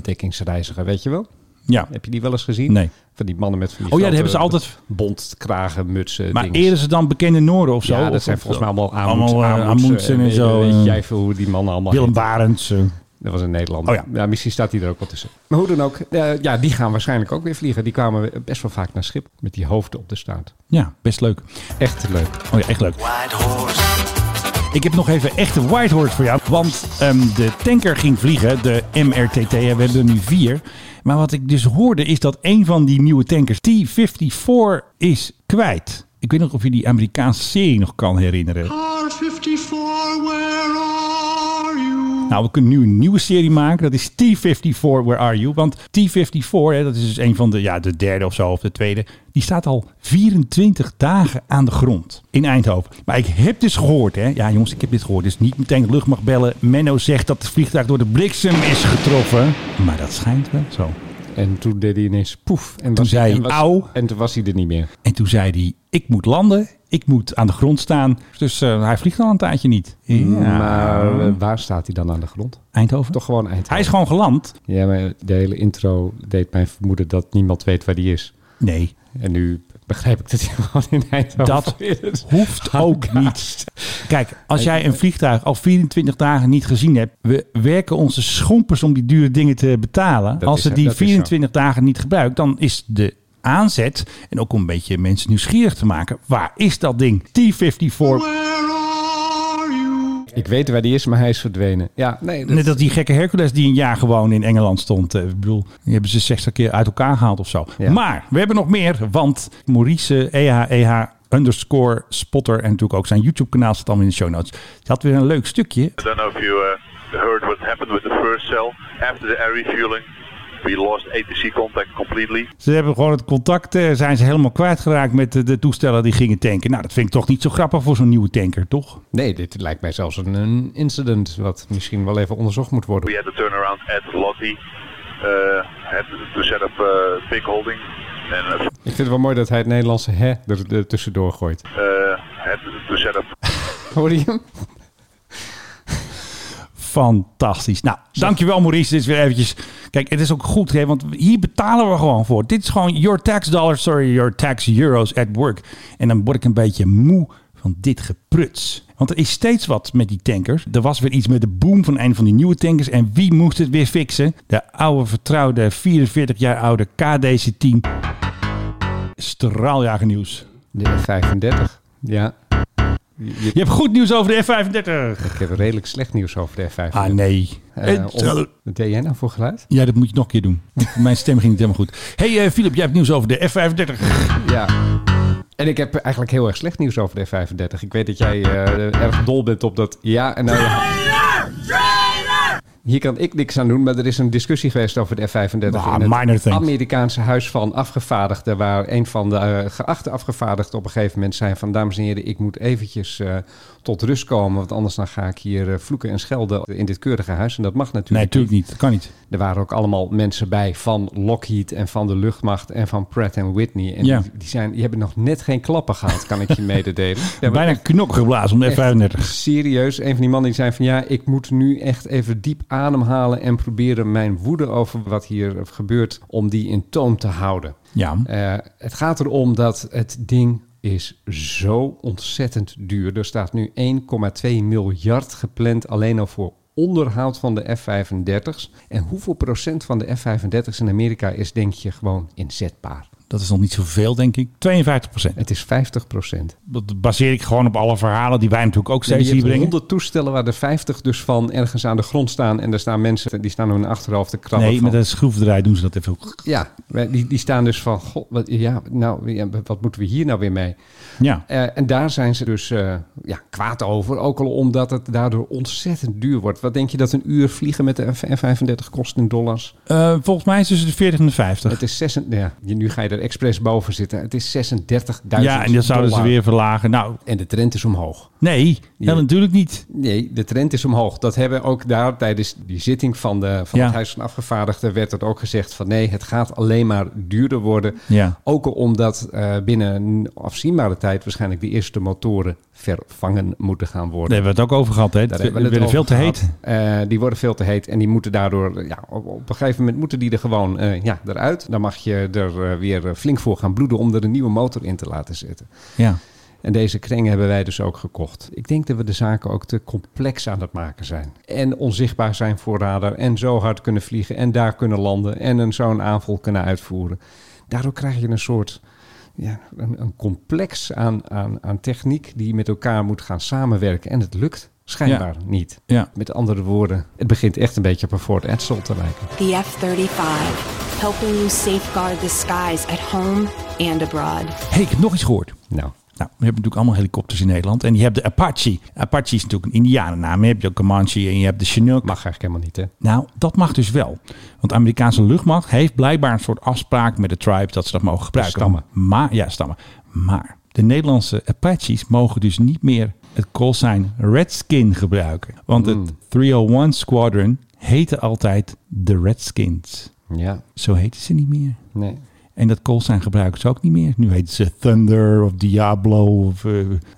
Speaker 4: ontdekkingsreiziger, weet je wel?
Speaker 5: Ja.
Speaker 4: Heb je die wel eens gezien?
Speaker 5: Nee.
Speaker 4: Van die mannen met van die
Speaker 5: Oh ja, die
Speaker 4: grote
Speaker 5: hebben ze altijd-
Speaker 4: bont, kragen, mutsen,
Speaker 5: Maar
Speaker 4: dinges.
Speaker 5: eerder ze dan bekende Noorden of zo?
Speaker 4: Ja, dat
Speaker 5: Of-
Speaker 4: zijn
Speaker 5: of-
Speaker 4: volgens mij allemaal
Speaker 5: Allemaal, eh, Amundsen en
Speaker 4: weet-
Speaker 5: zo,
Speaker 4: Weet
Speaker 5: eh.
Speaker 4: jij veel hoe die mannen allemaal
Speaker 5: Willem
Speaker 4: heten.
Speaker 5: Barends. eh.
Speaker 4: Dat was een Nederlander.
Speaker 5: Oh ja.
Speaker 4: misschien staat die er ook wel tussen. Maar hoe dan ook, eh, ja, die gaan waarschijnlijk ook weer vliegen. Die kwamen we- best wel vaak naar schip met die hoofden op de staart.
Speaker 5: Ja, best leuk.
Speaker 4: Echt leuk.
Speaker 5: Oh ja, echt leuk. Ik heb nog even echte whitehorse voor jou. Want ehm, de tanker ging vliegen, de MRTT. en We hebben er nu vier. Maar wat ik dus hoorde is dat een van die nieuwe tankers, T-54, is kwijt. Ik weet nog of je die Amerikaanse serie nog kan herinneren.
Speaker 13: R54, where are you?
Speaker 5: Nou, we kunnen nu een nieuwe serie maken. Dat is T-54, Where Are You? Want T-54, hè, dat is dus een van de, ja, de derde of zo, of de tweede. Die staat al 24 dagen aan de grond in Eindhoven. Maar ik heb dus gehoord, hè. Ja, jongens, ik heb dit gehoord. Dus niet meteen de lucht mag bellen. Menno zegt dat het vliegtuig door de bliksem is getroffen. Maar dat schijnt wel zo.
Speaker 4: En toen deed hij ineens poef. En
Speaker 5: Toen zei
Speaker 4: en
Speaker 5: hij, "Au."
Speaker 4: En toen was hij er niet meer.
Speaker 5: En toen zei hij, ik moet landen. Ik moet aan de grond staan. Dus eh, hij vliegt al een tijdje niet. Ja.
Speaker 4: Maar eh, waar staat hij dan aan de grond?
Speaker 5: Eindhoven?
Speaker 4: Toch gewoon Eindhoven.
Speaker 5: Hij is gewoon geland.
Speaker 4: Ja, maar de hele intro deed mij vermoeden dat niemand weet waar die is.
Speaker 5: Nee,
Speaker 4: En nu begrijp ik dat hij gewoon in Eindhoven
Speaker 5: Dat
Speaker 4: is.
Speaker 5: hoeft ook niet. Kijk, als jij een vliegtuig al 24 dagen niet gezien hebt, we werken onze schompers om die dure dingen te betalen.
Speaker 4: Dat
Speaker 5: als
Speaker 4: is-
Speaker 5: ze die
Speaker 4: dat is zo.
Speaker 5: 24 dagen niet gebruikt, dan is de aanzet en ook om een beetje mensen nieuwsgierig te maken. Waar is dat ding? T-54.
Speaker 4: Ik weet waar die is, maar hij is verdwenen. Ja, nee. dat-
Speaker 5: Net als die gekke Hercules die een jaar gewoon in Engeland stond. Eh, Ik bedoel, die hebben ze 60 keer uit elkaar gehaald of zo.
Speaker 4: Ja.
Speaker 5: Maar we hebben nog meer, want Maurice E EHEH underscore spotter en natuurlijk ook zijn YouTube kanaal staat allemaal in de show notes. Dat had weer een leuk stukje
Speaker 9: I don't know if you uh, heard what happened with the first cell. After the air refueling, we lost ATC contact completely.
Speaker 5: Ze hebben gewoon het contact, eh, zijn ze helemaal kwijtgeraakt met de, de toestellen die gingen tanken. Nou, dat vind ik toch niet zo grappig voor zo'n nieuwe tanker, toch?
Speaker 4: Nee, dit lijkt mij zelfs een, een incident wat misschien wel even onderzocht moet worden.
Speaker 9: We had a turnaround at Lottie, uh, had to set up a big holding, and uh,
Speaker 4: Ik vind het wel mooi dat hij het Nederlandse hè er, er tussendoor gooit.
Speaker 9: uh, had to set up
Speaker 4: Hoor je hem?
Speaker 5: Fantastisch. Nou, dankjewel Maurice. Dit is weer eventjes... Kijk, het is ook goed, hè, want hier betalen we gewoon voor. Dit is gewoon your tax dollars, sorry, your tax euros at work. En dan word ik een beetje moe van dit gepruts. Want er is steeds wat met die tankers. Er was weer iets met de boom van een van die nieuwe tankers. En wie moest het weer fixen? De oude vertrouwde 44 jaar oude KDC-team. Straaljager nieuws.
Speaker 4: De F35. Ja. Je, je-
Speaker 5: Je hebt goed nieuws over de F-35.
Speaker 4: ik heb redelijk slecht nieuws over de F35.
Speaker 5: Ah, nee.
Speaker 4: Eh,
Speaker 5: Het-
Speaker 4: om- Wat deed jij nou voor geluid?
Speaker 5: Ja, dat moet je nog een keer doen. Mijn stem ging niet helemaal goed. hey, eh, Philip, jij hebt nieuws over de F-35.
Speaker 4: Ja. En ik heb eigenlijk heel erg slecht nieuws over de F35. Ik weet dat jij eh, erg dol bent op dat ja en nou ja. Hier kan ik niks aan doen, maar er is een discussie geweest over de F-35.
Speaker 5: Ah,
Speaker 4: in het
Speaker 5: minor things.
Speaker 4: Amerikaanse Huis van Afgevaardigden, waar een van de eh, geachte afgevaardigden op een gegeven moment zei van... Dames en heren, ik moet eventjes eh, tot rust komen, want anders dan ga ik hier eh, vloeken en schelden in dit keurige huis. En dat mag natuurlijk
Speaker 5: Nee, natuurlijk niet. Dat kan niet.
Speaker 4: er waren ook allemaal mensen bij van Lockheed en van de luchtmacht en van Pratt Whitney. En
Speaker 5: Ja.
Speaker 4: die, die, zijn, die hebben nog net geen klappen gehad, kan ik je mededelen. Ja, maar
Speaker 5: Bijna knok geblazen om de
Speaker 4: echt
Speaker 5: F-35.
Speaker 4: serieus, een van die mannen die zei van ja, ik moet nu echt even diep ademhalen en proberen mijn woede over wat hier gebeurt, om die in toom te houden.
Speaker 5: Ja.
Speaker 4: Eh, het gaat erom dat het ding is zo ontzettend duur. Er staat nu 1,2 miljard gepland alleen al voor onderhoud van de F-35's. En hoeveel procent van de F-35's in Amerika is, denk je, gewoon inzetbaar?
Speaker 5: Dat is nog niet zoveel, denk ik. 52
Speaker 4: Het is 50 procent.
Speaker 5: Dat baseer ik gewoon op alle verhalen die wij natuurlijk ook steeds
Speaker 4: je
Speaker 5: hier
Speaker 4: hebt
Speaker 5: brengen.
Speaker 4: 100 toestellen waar er 50 dus van ergens aan de grond staan. En daar staan mensen, die staan hun achterhoofd te krabben
Speaker 5: Nee,
Speaker 4: van.
Speaker 5: met een schroefdraai doen ze dat even.
Speaker 4: Ja, maar die, die staan dus van, god, wat, ja, nou, ja, wat moeten we hier nou weer mee?
Speaker 5: Ja.
Speaker 4: Eh, en daar zijn ze dus eh, ja, kwaad over, ook al omdat het daardoor ontzettend duur wordt. Wat denk je dat een uur vliegen met de F- F-35 kost in dollars?
Speaker 5: Eh, volgens mij is het tussen de 40 en de 50.
Speaker 4: Het is 6, ja, je- nu ga je er expres boven zitten. Het is 36.000
Speaker 5: Ja, en dat zouden ze
Speaker 4: dollar.
Speaker 5: weer verlagen. Nou,
Speaker 4: En de trend is omhoog.
Speaker 5: nee,
Speaker 4: Ja.
Speaker 5: dat natuurlijk niet.
Speaker 4: Nee, de trend is omhoog. Dat hebben ook daar tijdens die zitting van, de, van
Speaker 5: Ja.
Speaker 4: het Huis van Afgevaardigden... werd het ook gezegd van nee, het gaat alleen maar duurder worden.
Speaker 5: Ja.
Speaker 4: Ook al omdat eh, binnen een afzienbare tijd... waarschijnlijk de eerste motoren vervangen moeten gaan worden.
Speaker 5: Daar hebben we het ook over gehad. Hè?
Speaker 4: Daar
Speaker 5: Het
Speaker 4: hebben we het
Speaker 5: werden veel te
Speaker 4: over
Speaker 5: heet.
Speaker 4: gehad. Eh, die worden veel te heet en die moeten daardoor... Ja, op, op een gegeven moment moeten die er gewoon eh, ja, eruit. Dan mag je er eh, weer eh, flink voor gaan bloeden... om er een nieuwe motor in te laten zetten.
Speaker 5: Ja.
Speaker 4: En deze kring hebben wij dus ook gekocht. Ik denk dat we de zaken ook te complex aan het maken zijn. En onzichtbaar zijn voor radar. En zo hard kunnen vliegen. En daar kunnen landen. En een, zo'n aanval kunnen uitvoeren. Daardoor krijg je een soort. Ja, een, een complex aan, aan, aan techniek die met elkaar moet gaan samenwerken. En het lukt schijnbaar niet.
Speaker 5: Ja.
Speaker 4: Met andere woorden, het begint echt een beetje op een Ford Edsel te lijken.
Speaker 7: The F 35, helping you safeguard the skies at home and abroad.
Speaker 5: Hey, ik heb nog iets gehoord.
Speaker 4: Nou.
Speaker 5: Nou, we hebben natuurlijk allemaal helikopters in Nederland. En je hebt de Apache. Apache is natuurlijk een Indianennaam. Je hebt de Comanche en je hebt de Chinook.
Speaker 4: Mag eigenlijk helemaal niet, hè?
Speaker 5: Nou, dat mag dus wel. Want de Amerikaanse luchtmacht heeft blijkbaar een soort afspraak met de tribe dat ze dat mogen gebruiken.
Speaker 4: stammen.
Speaker 5: Maar, ja, stammen. Maar de Nederlandse Apaches mogen dus niet meer het callsign Redskin gebruiken. Want het 301 Squadron heette altijd de Redskins.
Speaker 4: Ja.
Speaker 5: Zo heten ze niet meer.
Speaker 4: Nee.
Speaker 5: En dat callsign gebruiken ze ook niet meer. Nu heten ze Thunder of Diablo of eh,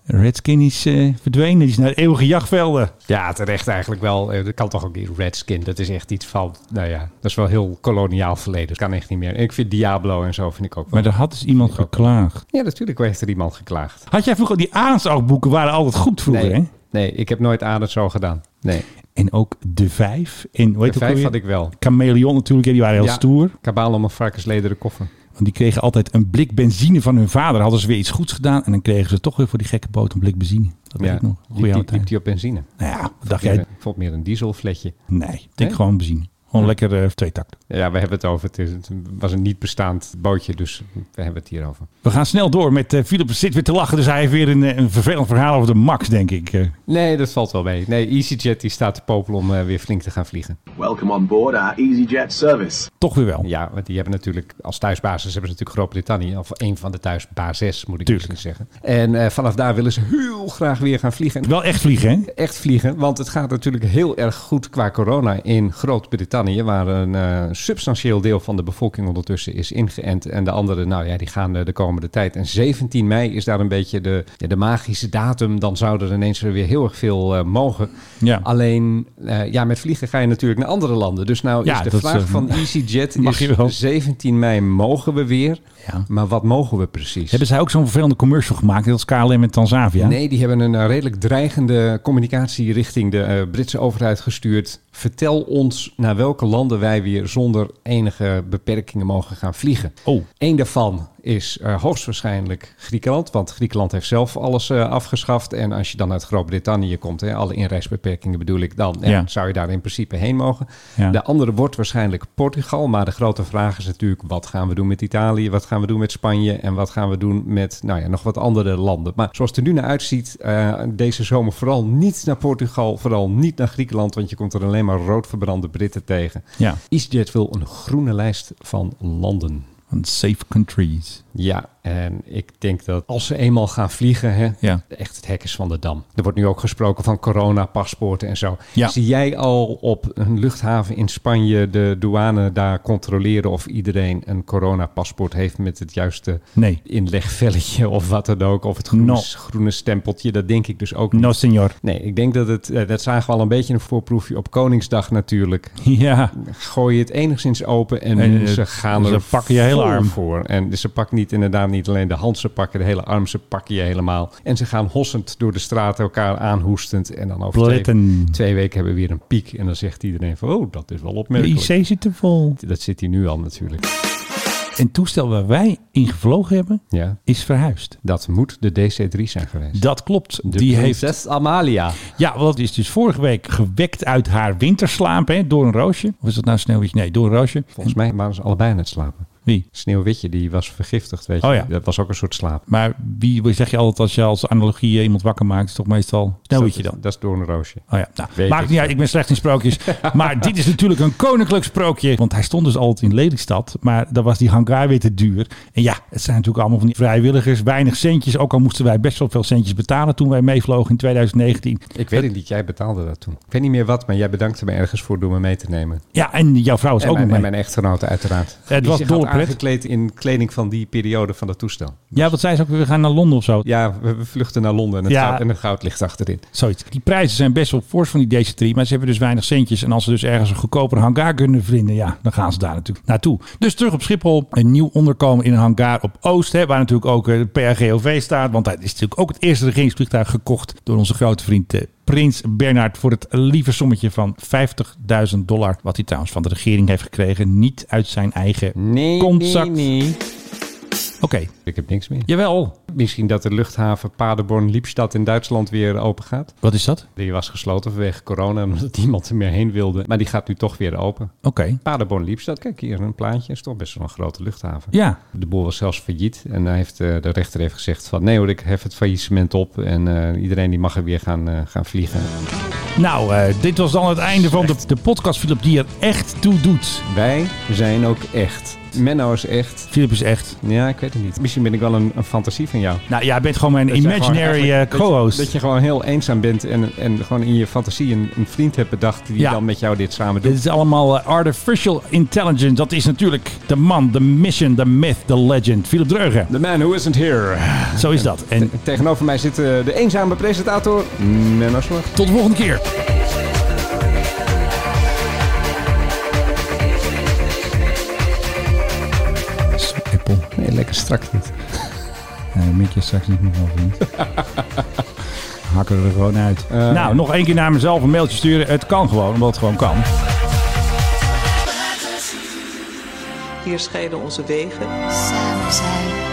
Speaker 5: Redskin is eh, verdwenen. Die is naar de eeuwige
Speaker 4: Oh.
Speaker 5: jachtvelden.
Speaker 4: Ja, terecht eigenlijk wel. Eh, Dat kan toch ook niet. Redskin, dat is echt iets van... Nou ja, dat is wel heel koloniaal verleden. Dat kan echt niet meer. En ik vind Diablo en zo vind ik ook wel...
Speaker 5: Maar er had dus iemand geklaagd.
Speaker 4: Ja, natuurlijk heeft er iemand geklaagd.
Speaker 5: Had jij vroeger die aansagboeken waren altijd goed vroeger,
Speaker 4: nee,
Speaker 5: hè?
Speaker 4: nee, ik heb nooit aan het zo gedaan. Nee.
Speaker 5: En ook de vijf. En hoe heet
Speaker 4: De
Speaker 5: ook
Speaker 4: vijf
Speaker 5: alweer?
Speaker 4: had ik wel.
Speaker 5: Chameleon natuurlijk, hè, die waren heel
Speaker 4: Ja,
Speaker 5: stoer.
Speaker 4: Kabaal om een varkenslederen koffer.
Speaker 5: Want die kregen altijd een blik benzine van hun vader. Hadden ze weer iets goeds gedaan. En dan kregen ze toch weer voor die gekke boot een blik benzine. Dat weet
Speaker 4: ja,
Speaker 5: ik nog.
Speaker 4: Liep,
Speaker 5: Goeie
Speaker 4: die-
Speaker 5: oude tijd.
Speaker 4: liep die op benzine.
Speaker 5: Nou ja, wat dacht
Speaker 4: Meer
Speaker 5: jij?
Speaker 4: een- Ik vond het meer een dieselfletje.
Speaker 5: Nee, ik denk
Speaker 4: Nee?
Speaker 5: gewoon benzine. Gewoon lekker eh twee takt.
Speaker 4: Ja, we hebben het over. Het, is, het was een niet bestaand bootje, dus we hebben het hier over.
Speaker 5: We gaan snel door met eh Philip zit weer te lachen. Dus hij heeft weer een, eh, een vervelend verhaal over de Max, denk ik. Eh,
Speaker 4: Nee, dat valt wel mee. Nee, EasyJet die staat te popelen om eh, weer flink te gaan vliegen.
Speaker 10: Welcome on board our EasyJet service.
Speaker 5: toch weer wel.
Speaker 4: Ja, want die hebben natuurlijk als thuisbasis hebben ze natuurlijk Groot-Brittannië. Of een van de thuisbases, moet ik misschien zeggen. En eh, vanaf daar willen ze heel graag weer gaan vliegen.
Speaker 5: Wel echt vliegen, hè?
Speaker 4: Echt vliegen, want het gaat natuurlijk heel erg goed qua corona in Groot-Brittannië. Waar een eh, substantieel deel van de bevolking ondertussen is ingeënt. En de anderen, nou ja, die gaan eh, de komende tijd. En 17 mei is daar een beetje de, ja, de magische datum. Dan zou er ineens weer heel erg veel eh, mogen.
Speaker 5: Ja.
Speaker 4: Alleen, eh, ja, met vliegen ga je natuurlijk naar andere landen. Dus nou
Speaker 5: Ja,
Speaker 4: is de
Speaker 5: dat,
Speaker 4: vraag
Speaker 5: eh,
Speaker 4: van EasyJet
Speaker 5: mag
Speaker 4: is
Speaker 5: je wel.
Speaker 4: 17 mei mogen we weer.
Speaker 5: Ja.
Speaker 4: Maar wat mogen we precies?
Speaker 5: Hebben zij ook zo'n vervelende commercial gemaakt? Net als KLM met Tanzavia?
Speaker 4: Nee, die hebben een eh, redelijk dreigende communicatie richting de eh, Britse overheid gestuurd. Vertel ons naar welke landen wij weer zonder enige beperkingen mogen gaan vliegen.
Speaker 5: Oh.
Speaker 4: Eén daarvan is eh, hoogstwaarschijnlijk Griekenland, want Griekenland heeft zelf alles eh, afgeschaft. En als je dan uit Groot-Brittannië komt, hè, alle inreisbeperkingen bedoel ik, dan eh,
Speaker 5: Ja.
Speaker 4: zou je daar in principe heen mogen.
Speaker 5: Ja.
Speaker 4: De andere wordt waarschijnlijk Portugal, maar de grote vraag is natuurlijk, wat gaan we doen met Italië, wat gaan we doen met Spanje en wat gaan we doen met, nou ja, nog wat andere landen. Maar zoals het er nu naar uitziet, eh, deze zomer vooral niet naar Portugal, vooral niet naar Griekenland, want je komt er alleen maar rood verbrande Britten tegen.
Speaker 5: Ja.
Speaker 4: EasyJet wil een groene lijst van landen.
Speaker 5: Van safe countries.
Speaker 4: Ja, en ik denk dat als ze eenmaal gaan vliegen, hè,
Speaker 5: Ja.
Speaker 4: echt het hek is van de dam. Er wordt nu ook gesproken van coronapaspoorten en zo.
Speaker 5: Ja.
Speaker 4: Zie jij al op een luchthaven in Spanje de douane daar controleren of iedereen een coronapaspoort heeft met het juiste
Speaker 5: Nee.
Speaker 4: inlegvelletje of wat dan ook, of het groene,
Speaker 5: No.
Speaker 4: groene stempeltje? Dat denk ik dus ook niet.
Speaker 5: No, senor.
Speaker 4: Nee, ik denk dat het, eh, dat zagen we al een beetje een voorproefje op Koningsdag natuurlijk
Speaker 5: Ja.
Speaker 4: gooi je het enigszins open en,
Speaker 5: En, eh,
Speaker 4: ze gaan
Speaker 5: ze
Speaker 4: er
Speaker 5: pakken je hele
Speaker 4: vol
Speaker 5: arm.
Speaker 4: voor. En dus ze pakken niet inderdaad
Speaker 7: niet alleen de handse pakken, de hele armse pakken je helemaal. En ze gaan hossend door de straat elkaar aanhoestend. En dan over twee,
Speaker 5: Blitten.
Speaker 7: twee weken hebben we weer een piek. En dan zegt iedereen van, oh, dat is wel
Speaker 5: De
Speaker 7: opmerkelijk.
Speaker 5: IC zit er vol.
Speaker 7: Dat zit hij nu al natuurlijk.
Speaker 5: En het toestel waar wij in gevlogen hebben,
Speaker 7: Ja.
Speaker 5: is verhuisd.
Speaker 7: Dat moet de DC-3 zijn geweest.
Speaker 5: Dat klopt.
Speaker 7: De
Speaker 5: die
Speaker 7: prinses
Speaker 5: heeft.
Speaker 7: Amalia.
Speaker 5: Ja, want dat is dus vorige week gewekt uit haar winterslaap hè, door een roosje. Of is dat nou Sneeuwwitje? Nee, door een roosje.
Speaker 7: Volgens mij waren ze allebei aan het slapen.
Speaker 5: Wie?
Speaker 7: Sneeuwwitje, die was vergiftigd, weet je.
Speaker 5: Oh ja.
Speaker 7: Dat was ook een soort slaap.
Speaker 5: Maar wie zeg je altijd als je als analogie iemand wakker maakt? Is toch meestal Sneeuwwitje
Speaker 7: Dat
Speaker 5: dan?
Speaker 7: is- Dat is door een roosje.
Speaker 5: Oh ja, nou,
Speaker 7: Weet
Speaker 5: maakt
Speaker 7: ik
Speaker 5: niet uit, ik ben slecht in sprookjes. maar dit is natuurlijk een koninklijk sprookje. Want hij stond dus altijd in Lelystad. Maar daar was die hangar weer te duur. En ja, het zijn natuurlijk allemaal van die vrijwilligers. Weinig centjes, ook al moesten wij best wel veel centjes betalen toen wij meevlogen in 2019.
Speaker 7: Ik weet het niet, jij betaalde dat toen. Ik weet niet meer wat, maar jij bedankte me ergens voor door me mee te nemen.
Speaker 5: Ja, en jouw vrouw is
Speaker 7: en
Speaker 5: ook
Speaker 7: mijn,
Speaker 5: nog mee.
Speaker 7: en mijn echtgenote uiteraard.
Speaker 5: Het
Speaker 7: Die
Speaker 5: was
Speaker 7: zich had
Speaker 5: dolle pret.
Speaker 7: aangekleed in kleding van die periode van dat toestel.
Speaker 5: Ja, wat zei ze ook, we gaan naar Londen of zo.
Speaker 7: Ja, we, we vluchten naar Londen en het,
Speaker 5: Ja.
Speaker 7: goud, en het goud ligt achterin.
Speaker 5: Zoiets. Die prijzen zijn best wel fors van die DC3, maar ze hebben dus weinig centjes. En als ze dus ergens een goedkopere hangar kunnen vinden, ja, dan gaan ze daar natuurlijk naartoe. Dus terug op Schiphol, een nieuw onderkomen in een hangar op Oost, hè, waar natuurlijk ook eh, de PRGOV staat. Want dat is natuurlijk ook het eerste regeringsvliegtuig gekocht door onze grote vriend eh, Prins Bernhard voor het lieve sommetje van 50.000 dollar. Wat hij trouwens van de regering heeft gekregen, niet uit zijn eigen
Speaker 7: Nee,
Speaker 5: kontzak.
Speaker 7: nee, nee.
Speaker 5: Oké,
Speaker 7: Ik heb niks meer.
Speaker 5: jawel.
Speaker 7: Misschien dat de luchthaven Paderborn-Liepstad in Duitsland weer open gaat.
Speaker 5: Wat is dat?
Speaker 7: Die was gesloten vanwege corona en omdat niemand er meer heen wilde. Maar die gaat nu toch weer open.
Speaker 5: Oké.
Speaker 7: Paderborn-Liepstad, kijk hier een plaatje. Is toch best wel een grote luchthaven.
Speaker 5: Ja.
Speaker 7: De boel was zelfs failliet. En hij heeft, eh, de rechter heeft gezegd van... nee hoor, ik hef het faillissement op. En eh, iedereen die mag er weer gaan, eh, gaan vliegen.
Speaker 5: Nou, eh, dit was dan het einde van de, de podcast, Philip, die er echt toe doet.
Speaker 7: Wij zijn ook echt. Menno is echt.
Speaker 5: Philip is echt.
Speaker 7: Ja, ik weet het niet. Misschien ben ik wel een, een fantasie van jou.
Speaker 5: Nou, jij bent gewoon mijn
Speaker 7: Dat jij gewoon
Speaker 5: imaginary eh,
Speaker 7: eigenlijk- dat je-
Speaker 5: co-host.
Speaker 7: Dat je gewoon heel eenzaam bent en, en gewoon in je fantasie een, een vriend hebt bedacht... die
Speaker 5: Ja.
Speaker 7: dan met jou dit samen
Speaker 5: Dit
Speaker 7: doet.
Speaker 5: is allemaal eh, artificial intelligence. Dat is natuurlijk de man, de mission, de myth, de legend. Philip Dreugen.
Speaker 7: The man who isn't here.
Speaker 5: Zo is dat. En
Speaker 7: En tegenover mij zit eh, de eenzame presentator Menno Zwart.
Speaker 5: tot de volgende keer. Zo, Apple.
Speaker 7: Nee, lekker strak dit.
Speaker 5: Nee, mik je straks niet meer van, vriend. Hakken we er gewoon uit.
Speaker 7: Eh.
Speaker 5: nou, nog één keer naar mezelf een mailtje sturen. Het kan gewoon, omdat het gewoon kan.
Speaker 1: Hier scheiden onze wegen.
Speaker 3: Samen zijn.